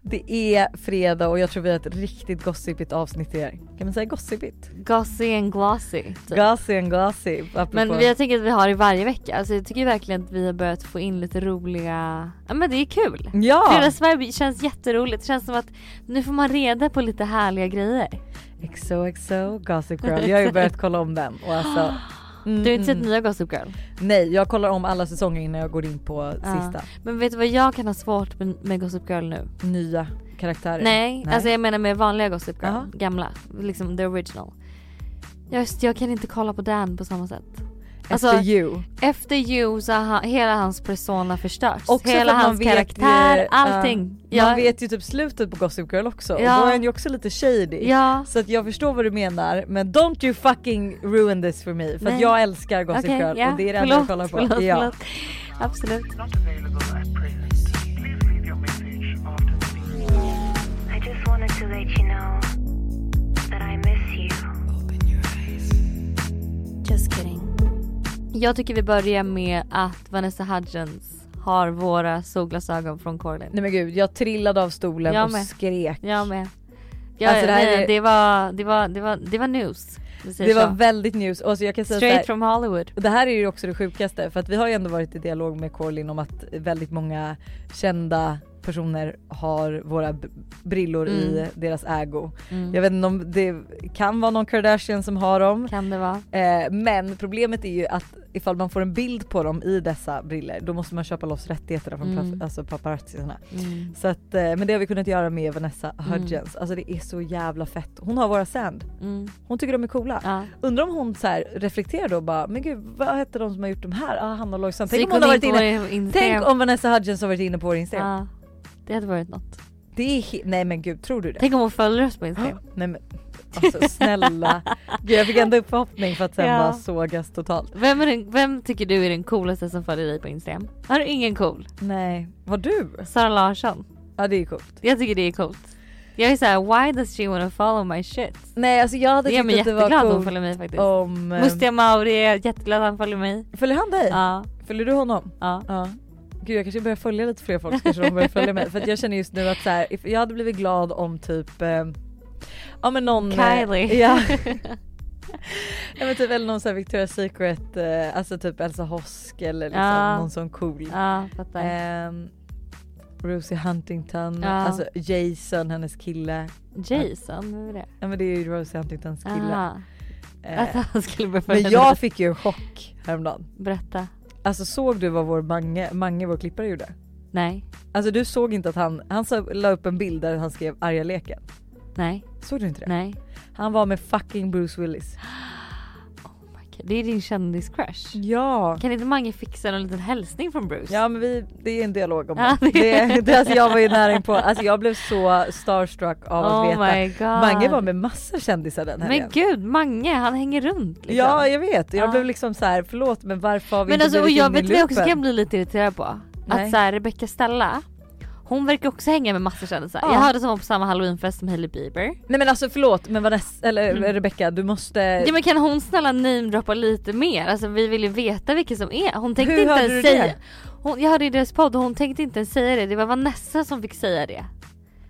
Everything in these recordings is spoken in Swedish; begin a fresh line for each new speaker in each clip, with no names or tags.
Det är fredag och jag tror vi har ett riktigt gossipigt avsnitt till er. Kan man säga gossipigt?
Gossy and glossy. typ.
Gossip and gossip. apropå-
Men vi, jag tänker att vi har det varje vecka. Alltså jag tycker verkligen att vi har börjat få in lite roliga, ja men det är kul.
Ja!
Fredagsvibe känns jätteroligt. Det känns som att nu får man reda på lite härliga grejer.
Mm, XOXO Gossip Girl. Jag har ju börjat kolla om den och alltså Mm.
Du typ- har inte sett nya Gossip Girl?
nej jag kollar om alla säsonger innan jag går in på
Ja.
sista.
Men vet du vad jag kan ha svårt med, med Gossip Girl nu?
Nya karaktärer.
Nej, alltså jag menar med vanliga Gossip Girl.
Jaha.
Gamla. Liksom the original. Just, jag kan inte kolla på Dan på samma sätt.
Efter
alltså-
you.
Efter you så har han, hela hans persona förstörts.
Också för
hela
att man
hans
vet
karaktär,
ju,
allting.
ja, Man
Jag-
vet ju typ slutet på Gossip Girl också och
Ja.
då är han ju också lite shady.
Ja.
Så att jag förstår vad du menar men don't you fucking ruin this for me för att
Nej.
jag älskar Gossip
Okej,
Girl
ja.
och det är det enda
förlåt,
jag kollar på.
Förlåt,
ja.
förlåt. Absolut.
not available at present. Please leave your message after the beep.
I just wanted to let you know that I miss you. Just kidding.
Jag tycker vi börjar med att Vanessa Hudgens har våra solglasögon från Corlin.
Nej men gud jag trillade av stolen
Jag
och
med.
skrek.
Jag med. Ja,
Alltså, det
det,
här
nej,
är-
det, var, det, var, det, var, det var news. Vi säger
Det var
så.
väldigt news och alltså jag kan säga så här,
Straight from Hollywood.
Och det här är ju också det sjukaste för att vi har ju ändå varit i dialog med Corlin om att väldigt många kända personer har våra b- brillor i
Mm.
deras ägo.
Mm.
Jag vet inte om det kan vara någon Kardashian som har dem
Kan det vara.
eh, men problemet är ju att ifall man får en bild på dem i dessa briller då måste man köpa loss rättigheterna från
Mm.
pra- alltså paparazzierna.
Mm.
Så att, eh, men det har vi kunnat göra med Vanessa Hudgens. Alltså det är så jävla fett. Hon har våra sand.
Mm.
Hon tycker de är coola.
Ja.
Undrar om hon så här reflekterar då och bara, men gud vad hette de som har gjort de här? Ah, Hanna och Lojsan.
Så
Tänk
gick
om hon har varit
in på
inne,
vår Instagram.
tänk om Vanessa Hudgens har varit inne på vår Instagram.
Ja. Det hade varit något.
Det är he- nej men gud tror du det?
Tänk om hon följer oss på Instagram.
Nej men alltså snälla. gud jag fick ändå upp förhoppning för att sen
Ja.
bara sågas totalt.
Vem, är den, vem tycker du är den coolaste som följer dig på Instagram? Har du ingen cool?
Nej, vad du?
Sara Larsson.
Ja det är coolt.
Jag tycker det är coolt. Jag är såhär, why does she wanna follow my shit?
Nej alltså jag hade
Det gör mig
tyckt att det var
jätteglad att hon
coolt
följer mig faktiskt.
om... eh,
Mustiga Mauri är jätteglad att han följer mig.
Följer han dig?
Ja,
Följer du honom?
ja.
Ja. Gud jag kanske börjar följa lite fler folk så kanske de börjar följa mig. För att jag känner just nu att så här, if- jag hade blivit glad om typ eh, Ja men någon eh,
Kylie.
Ja. ja men typ eller någon sån här Victoria's Secret, eh, alltså typ Elsa Hosk eller liksom
Ja.
någon sån cool.
Ja, fattar.
Ehm, Rosie Huntington,
Ja.
alltså Jason hennes kille.
Jason, vem är det?
Ja men det är ju Rosie Huntingtons kille.
Aha.
Eh,
Att han skulle börja
men
följa
jag
dig.
fick ju en chock häromdagen.
Berätta.
Alltså såg du vad vår Mange, Mange vår klippare gjorde?
Nej,
Alltså du såg inte att han, han sa- la upp en bild där han skrev arga leken.
nej,
Såg du inte det?
nej.
Han var med fucking Bruce Willis.
Det är din kändiscrush.
Ja.
Kan inte Mange fixa någon liten hälsning från Bruce?
Ja men vi, det är en dialog om
Ja,
det.
det-
det, det alltså jag var ju nära på. alltså jag blev så starstruck av att
oh
veta.
my god.
Mange var med massa kändisar den helgen.
Men gud, Mange han hänger runt liksom.
Ja jag vet, jag
Ja.
blev liksom så här: förlåt men varför har vi
Men
inte
alltså, och
blivit
jag
inne i
vet vad jag också
loopen?
kan bli lite irriterad på.
Nej.
Att så här, Rebecca Stella, hon verkar också hänga med massor kändisar.
Ja.
Jag hörde att hon var på samma halloweenfest som Hailey Bieber.
Nej men alltså förlåt men Vanessa, eller Rebecca du måste...
Mm. Ja men kan hon snälla namedroppa lite mer? Alltså vi vill ju veta vilka som är. Hon tänkte
Hur
inte
hörde
ens
du
säga.
det?
Hon, jag hörde i deras podd och hon tänkte inte ens säga det. Det var Vanessa som fick säga det.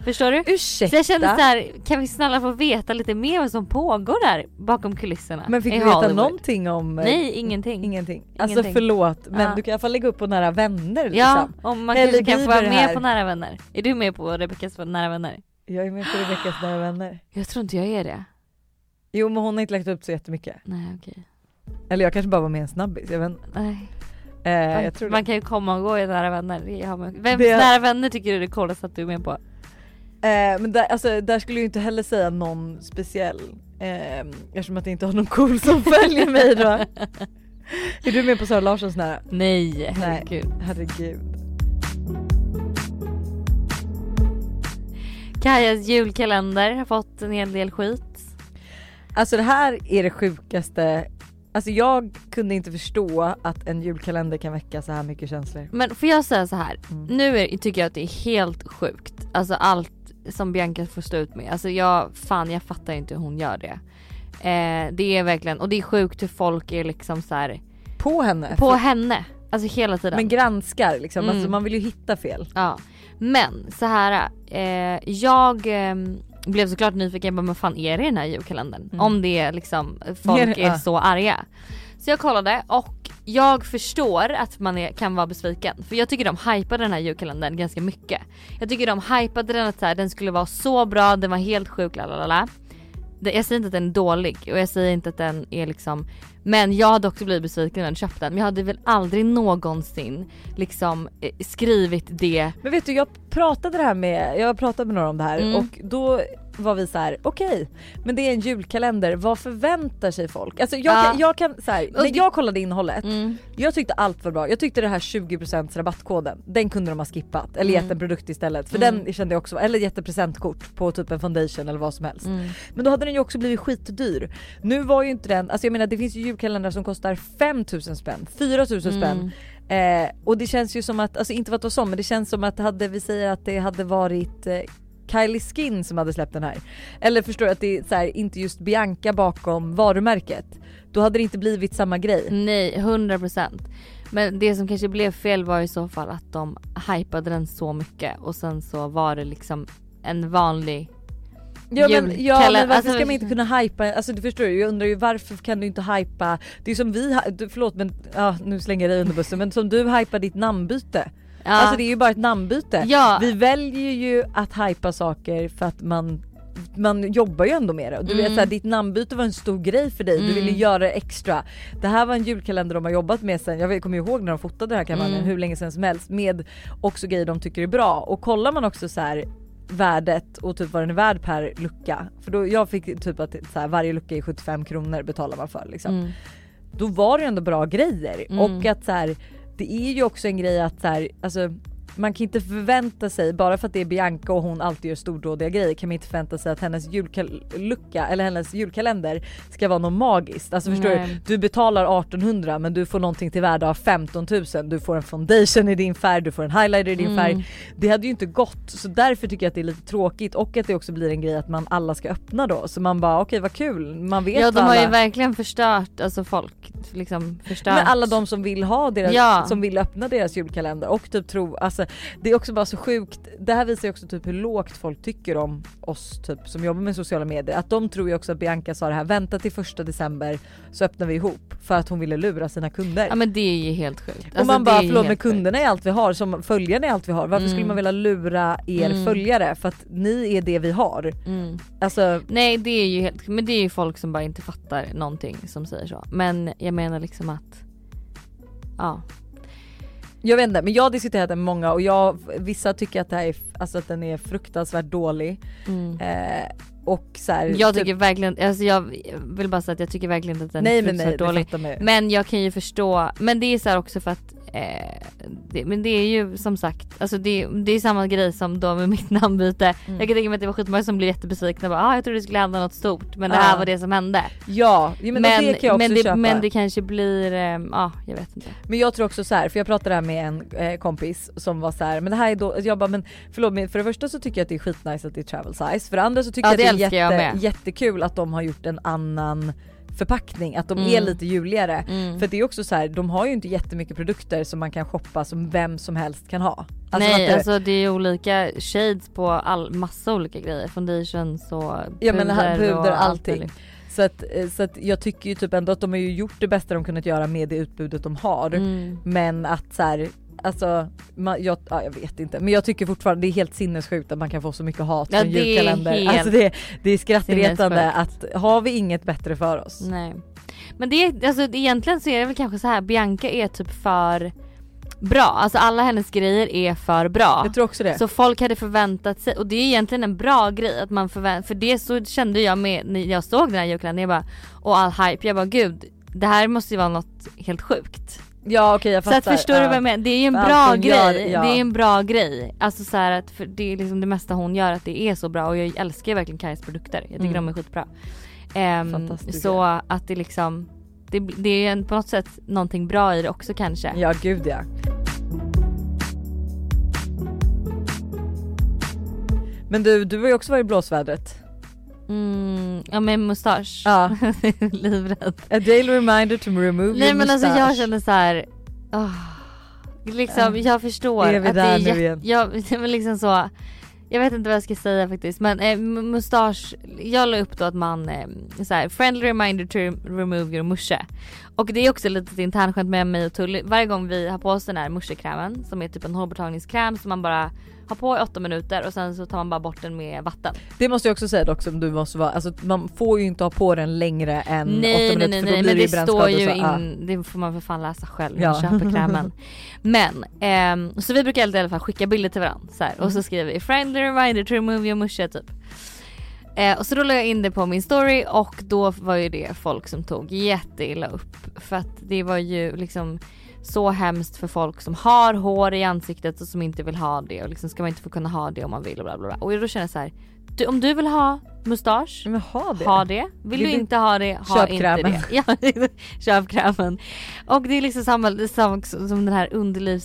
Förstår du?
Ursäkta?
Så jag kände så här, kan vi snälla få veta lite mer vad som pågår där bakom kulisserna
men fick
i
du veta
Hollywood?
någonting om... eh,
Nej ingenting.
Ingenting. Alltså
Ingenting.
förlåt men
Ja.
du kan i alla fall lägga upp på nära vänner
Ja,
liksom.
om man
Hailey
kanske kan få
Bieber
vara med
här.
på Nära Vänner. Är du med på Rebeckas Nära Vänner?
Jag är med på Rebeckas nära vänner.
Jag tror inte jag är det.
Jo men hon har inte lagt upp så jättemycket.
Nej okej. Eller
Eller jag kanske bara var med en snabbis, jag vet inte.
Nej.
eh, jag tror det.
Man kan ju komma och gå i Nära Vänner. Det har man- Vems
Det-
Nära Vänner tycker du är det coolaste att du är med på?
Eh, men där, alltså, där skulle jag ju inte heller säga någon speciell eh, eftersom att jag inte har någon cool som följer mig då. Är du med på Sara Larssons nära?
Nej, herregud.
Herregud.
Kajas julkalender har fått en hel del skit.
Alltså det här är det sjukaste. Alltså jag kunde inte förstå att en julkalender kan väcka så här mycket känslor.
Men får jag säga så här.
Mm.
Nu är, tycker jag att det är helt sjukt. Alltså allt som Bianca får stå ut med. Alltså jag, fan jag fattar inte hur hon gör det. Eh, det är verkligen, och det är sjukt hur folk är liksom så här
På henne?
på henne. Alltså hela tiden.
Men granskar liksom,
Mm.
alltså, man vill ju hitta fel.
Ja. Men så här, eh, jag eh, blev såklart nyfiken, jag bara, men fan är det i den här julkalendern?
Mm.
Om det är liksom, folk
Är det-
är
ja.
så arga. Så jag kollade och jag förstår att man är, kan vara besviken för jag tycker de hypade den här julkalendern ganska mycket. Jag tycker de hypade den att så här, den skulle vara så bra, den var helt sjuk, la la la, la. Det- Jag säger inte att den är dålig och jag säger inte att den är liksom men jag hade också blivit besviken när jag köpte den. Men jag hade väl aldrig någonsin liksom eh, skrivit det
Men vet du jag pratade det här med, jag pratade med några om det här
Mm.
och då var vi så här: okej men det är en julkalender, vad förväntar sig folk? Alltså jag,
Ja.
kan, jag kan så här,
Ah. Och
när
det-
jag kollade innehållet,
Mm.
jag tyckte allt var bra. Jag tyckte det här 20% rabattkoden, den kunde de ha skippat eller gett en produkt istället för
Mm.
den kände jag också, eller gett ett presentkort på typ en foundation eller vad som helst.
Mm.
Men då hade den ju också blivit skitdyr. Nu var ju inte den, alltså jag menar det finns ju julkalendrar som kostar 5000 spänn, 4000 spänn. Eh, och det känns ju som att, alltså inte för att vara sån men det känns som att hade vi säger att det hade varit eh, Kylie Skin som hade släppt den här. Eller förstår du att det är så här, inte just Bianca bakom varumärket. Då hade det inte blivit samma grej.
Nej, 100 procent. Men det som kanske blev fel var i så fall att de hypade den så mycket och sen så var det liksom en vanlig
Ja men, ja,
Julkalender-
men varför
alltså-
ska man inte kunna hypa, alltså du förstår ju, jag undrar ju varför kan du inte hypa, det är som vi, hy- du, förlåt men ja, nu slänger jag dig under bussen men som du hypar ditt namnbyte.
Ja.
Alltså det är ju bara ett namnbyte.
Ja.
Vi väljer ju att hypa saker för att man man jobbar ju ändå med det. Och Du vet,
Mm.
så här, ditt namnbyte var en stor grej för dig, du
Mm.
ville göra det extra. Det här var en julkalender de har jobbat med sen, jag kommer ju ihåg när de fotade den här kampanjen
Mm.
hur länge sen som helst med också grejer de tycker är bra. Och kollar man också så här värdet och typ vad den är värd per lucka. För då, jag fick typ att så här, varje lucka är 75 kronor betalar man för liksom
mm.
då var det ju ändå bra grejer.
Mm.
Och att så här, det är ju också en grej att så här, alltså, man kan inte förvänta sig, bara för att det är Bianca och hon alltid gör stordådiga grejer kan man inte förvänta sig att hennes jullucka eller hennes julkalender ska vara något magiskt. Alltså förstår
Nej.
du? Du betalar 1800 men du får någonting till värde av 15 000. Du får en foundation i din färg, du får en highlighter i din
Mm.
färg. Det hade ju inte gått så därför tycker jag att det är lite tråkigt och att det också blir en grej att man alla ska öppna då. Så man bara okej vad kul, man vet
ja de
vad
har ju
alla-
verkligen förstört, alltså folk liksom förstört.
men alla de som vill ha deras,
Ja.
som vill öppna deras julkalender och typ tro, alltså det är också bara så sjukt. Det här visar ju också typ hur lågt folk tycker om oss typ som jobbar med sociala medier. Att de tror ju också att Bianca sa det här, vänta till första december så öppnar vi ihop för att hon ville lura sina kunder.
Ja men det är ju helt sjukt. Alltså,
och man
det
bara
är ju
förlåt men
helt sjukt.
kunderna är allt vi har, som följarna är allt vi har. Varför skulle
Mm.
man vilja lura er
Mm.
följare? För att ni är det vi har.
Mm.
Alltså
Nej det är ju helt, men det är ju folk som bara inte fattar någonting som säger så. Men jag menar liksom att, ja.
Jag vet inte men jag har diskuterat det med många och jag, vissa tycker att, det här är, alltså att den är fruktansvärt dålig.
Mm.
Eh, och så här,
Jag
typ-
tycker verkligen, alltså jag vill bara säga att jag tycker verkligen inte att den
nej
är
men nej,
fruktansvärt dålig.
det fattar man ju.
Men jag kan ju förstå, men det är så här också för att eh, det, men det är ju som sagt, alltså det, det är samma grej som då med mitt namnbyte.
Mm.
Jag kan tänka mig att det var skitmånga som blev jättebesvikna bara ah, jag trodde det skulle hända något stort men det här
Ja.
var det som hände.
Ja, jo, men, det kan jag också
men, det,
köpa.
men det kanske blir, eh, ja jag vet inte.
Men jag tror också så här, för jag pratade här med en eh, kompis som var så här, men det här är då, jag bara men förlåt men för det första så tycker jag att det är skitnice att det är travel size, för det andra så tycker
Ja,
jag att
det
det
älskar jag
är jätte,
med.
jättekul att de har gjort en annan förpackning, att de
Mm.
är lite juligare.
Mm.
För det är också så här, de har ju inte jättemycket produkter som man kan shoppa som vem som helst kan ha. Alltså
Nej
att det,
alltså det är ju olika shades på all, massa olika grejer, foundations och
Ja, men här- puder,
och allt
allting.
möjligt.
så, att, eh, så att jag tycker ju typ ändå att de har ju gjort det bästa de kunnat göra med det utbudet de har.
Mm.
Men att så här, alltså man, jag, ja, jag vet inte men jag tycker fortfarande det är helt sinnessjukt att man kan få så mycket hat
Ja,
från
det är
julkalender.
helt
Alltså det, det är skrattretande att har vi inget bättre för oss?
Nej. Men det är, alltså egentligen så är det väl kanske så här Bianca är typ för bra, alltså alla hennes grejer är för bra.
Jag tror också det.
Så folk hade förväntat sig, och det är egentligen en bra grej att man förväntar för det så kände jag med när jag såg den här julkalendern, jag bara, och all hype, jag bara gud det här måste ju vara något helt sjukt.
ja okej jag
Så
fattar.
att förstår du
ja.
vad jag menar? Det är ju en
Allt
bra
hon gör,
grej.
ja.
Det är ju en bra grej. Alltså så här att för det är liksom det mesta hon gör att det är så bra och jag älskar ju verkligen Kajas produkter. Jag tycker
Mm.
de är skitbra. Ehm,
Fantastiska.
så att det liksom, det, det är ju en- på något sätt någonting bra i det också kanske.
Ja gud ja. Men du, du har ju också varit i blåsvädret.
Mm, ja med mustasch.
Ja.
Livrädd.
A daily reminder to remove
Nej
your
men alltså
mustache.
jag känner så här. ah, liksom, jag förstår.
Är vi
att det
där nu
jätte-
igen?
Jag, men liksom så, jag vet inte vad jag ska säga faktiskt men eh, m- mustasch, jag la upp då att man, eh, så här, friendly reminder to remove your musche. Och det är också lite ett internskämt med mig och Tully. Varje gång vi har på oss den här muschekrämen som är typ en hårborttagningskräm som man bara har på i åtta minuter och sen så tar man bara bort den med vatten.
Det måste jag också säga dock som du måste vara, alltså man får ju inte ha på den längre än 8
Nej nej
minuter
nej,
för då
nej
blir
men
det ju
det står
brännskador.
ju
så, ah.
in, det får man för fan läsa själv när
Ja.
man köper krämen. Men ehm, så vi brukar i alla fall skicka bilder till varandra så här, och så skriver vi friendly reminder to remove your musche typ. Eh, och så då la jag in det på min story och då var ju det folk som tog jätteilla upp för att det var ju liksom så hemskt för folk som har hår i ansiktet och som inte vill ha det och liksom ska man inte få kunna ha det om man vill och bla bla bla. Och då känner jag så här, du, om du vill ha mustasch
Men ha det.
ha det. Vill,
Vill
du
du-
inte ha det, ha
Köp
inte
krämen.
det. Ja, köp krämen. Och det är liksom samma, det är samma som den här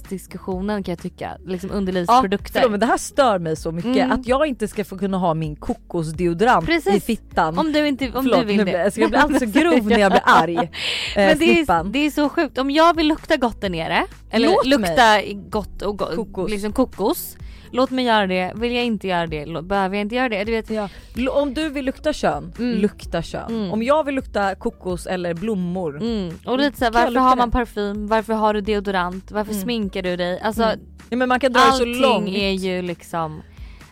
underlivsdiskussionen kan jag tycka. Liksom underlivsprodukter.
Förlåt, men det här stör mig så mycket
Mm.
att jag inte ska få kunna ha min kokosdeodorant
Precis.
i fittan.
om du inte om
Förlåt,
du vill
nu
det.
blir, alltså jag blir alldeles grov när jag blir arg. Eh,
Men det är,
snippan.
det är så sjukt. Om jag vill lukta gott där nere, eller
Låt
lukta gott och go-
Kokos.
Liksom kokos. Låt mig göra det. Vill jag inte göra det, lo- behöver jag inte göra det. Du vet,
Ja. L- Om du vill lukta kön,
Mm.
lukta kön. Om jag vill lukta kokos eller blommor,
mm. Och lite såhär,
Kan jag
varför
lukta
har
det? Mm.
man parfym? Varför har du deodorant? Varför sminkar du dig? Alltså
ja, men man kan dra det så långt.
allting är ju liksom...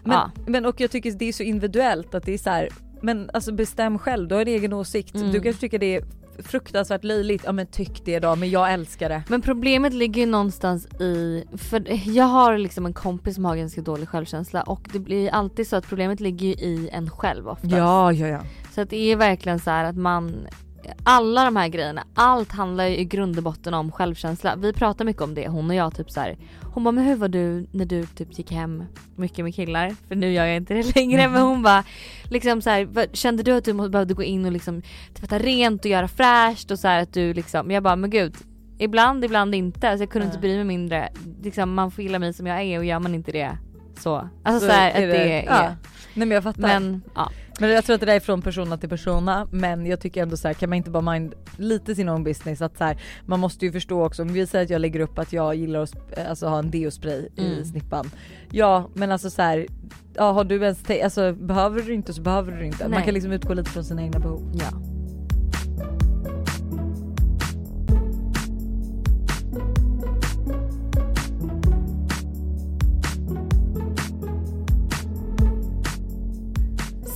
Men,
ja.
men och jag tycker det är så individuellt att det är så här, men alltså bestäm själv, du har en egen åsikt.
Mm.
Du kanske tycker det är fruktansvärt löjligt, ja men tyck det då men jag älskar det.
Men problemet ligger ju någonstans i, för jag har liksom en kompis som har ganska dålig självkänsla och det blir alltid så att problemet ligger ju i en själv oftast.
ja ja.
Så att det är verkligen så här att man, alla de här grejerna, allt handlar ju i grund och botten om självkänsla. Vi pratar mycket om det hon och jag typ så här. Hon bara men hur var du när du typ gick hem mycket med killar? För nu gör jag inte det längre men hon bara liksom så här, "Vad- kände du att du må- behövde gå in och liksom tvätta rent och göra fräscht och så här att du liksom, jag bara men gud ibland, ibland inte. Så jag kunde inte bry mig mindre. Liksom, man får gilla mig som jag är och gör man inte det så. Alltså så, här, att det, är...
ja. Nej men jag fattar. Men,
Men ja.
jag tror att det där är från persona till persona men jag tycker ändå så här, kan man inte bara mind lite sin own business att så här, man måste ju förstå också om vi säger att jag lägger upp att jag gillar att sp- alltså, ha en deospray
Mm.
i snippan. Ja men alltså så här, ja, har du ens te- alltså behöver du inte så behöver du inte. Man
Nej.
kan liksom utgå lite från sina egna behov.
ja.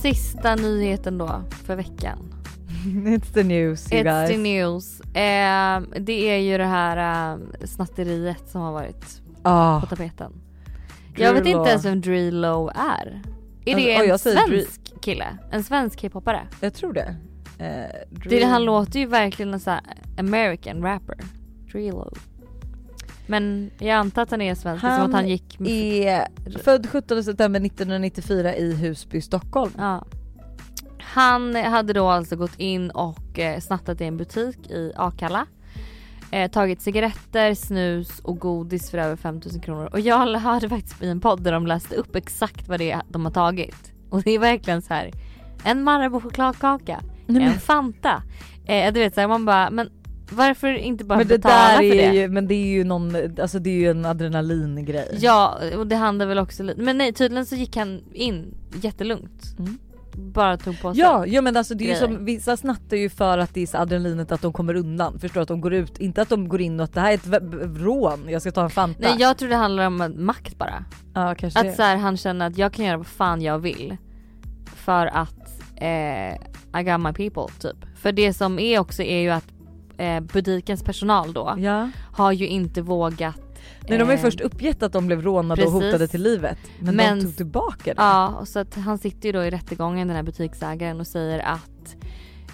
Sista nyheten då för veckan.
It's the news you
It's
guys.
the news. Eh, det är ju det här eh, snatteriet som har varit
Ah,
på tapeten. Jag vet
Drilo.
inte ens vem Drilo är. Är
Alltså,
det
oj,
en
jag säger Dri-
svensk kille? En svensk hiphoppare?
jag tror det. Eh,
Det,
Drill-
han låter ju verkligen en sån här American rapper. Drilo. Men jag antar att han är svensk
Han
som att han gick...
är född 17 september 1994 i Husby, Stockholm.
Ja. Han hade då alltså gått in och eh, snattat i en butik i Akalla. Eh, tagit cigaretter, snus och godis för över 5000 kronor. Och jag hörde faktiskt i en podd där de läste upp exakt vad det är de har tagit. Och det är verkligen så här. En Marabou-chokladkaka.
Nej, men-
en Fanta. Eh, du vet såhär man bara men varför inte bara
Men det
betala
där
för det?
är ju, men det är ju någon, alltså det är ju en adrenalingrej.
Ja och det handlar väl också lite. Men nej tydligen så gick han in jättelugnt.
Mm.
Bara tog på sig.
Ja, ja men alltså det är ju
Grejer.
som, vissa snattar ju för att det är så adrenalinet att de kommer undan. Förstår att de går ut, inte att de går in och att det här är ett v- v- rån, jag ska ta en Fanta.
Nej jag tror det handlar om makt bara.
Ja kanske det.
Att så här, han känner att jag kan göra vad fan jag vill. För att eh, I got my people typ. För det som är också är ju att eh, butikens personal då
Ja.
har ju inte vågat.
Nej de har ju
eh,
först uppgett att de blev rånade och
precis.
hotade till livet. Men,
Men-
de tog tillbaka det.
Ja och så att han sitter ju då i rättegången den här butiksägaren och säger att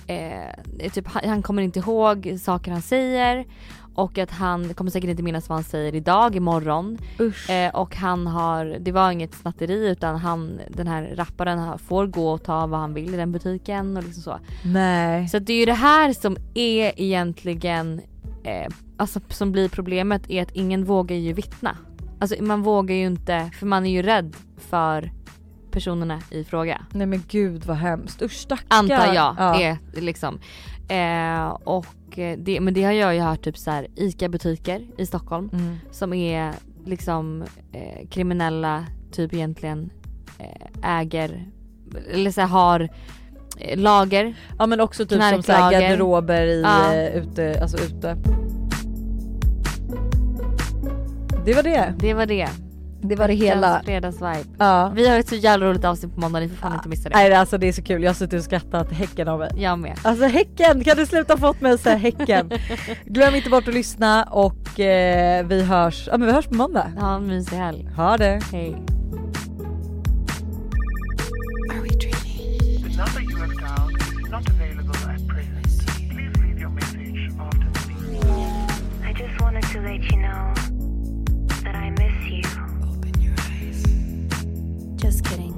eh, typ, han, han kommer inte ihåg saker han säger och att han kommer säkert inte minnas vad han säger idag, imorgon.
Usch.
Eh, och han har, det var inget snatteri utan han, den här rapparen har- får gå och ta vad han vill i den butiken och liksom så.
Nej.
Så att det är ju det här som är egentligen, eh, alltså som blir problemet är att ingen vågar ju vittna. Alltså man vågar ju inte för man är ju rädd för personerna i fråga.
Nej men gud vad hemskt. Usch stackarn.
Antar jag
Ja.
är liksom. Eh, och eh, det, men det har jag ju hört typ så här ICA-butiker i Stockholm
Mm.
som är liksom eh, kriminella typ egentligen eh, äger eller så här, har eh, lager.
Ja men också typ som såhär
Knarklager.
garderober i,
Ja.
eh, ute, alltså ute. Det var det.
Det var det.
Det var det
Veckans
hela.
Fredagsvibe.
Ja.
Vi har ett så jävla roligt avsnitt på måndag, ni får fan inte missa det.
Nej alltså det är så kul, jag har suttit och skrattat häcken av mig.
Jag med.
Alltså häcken, kan du sluta få åt mig att säga häcken? Glöm inte bort att lyssna och eh, vi hörs, ja men vi hörs på måndag.
Ha en mysig helg.
Ha det!
Hej.
The number you have dialed is not available at present. Please leave your message after the beep.
I just wanted to let you know that I miss you.
Just kidding.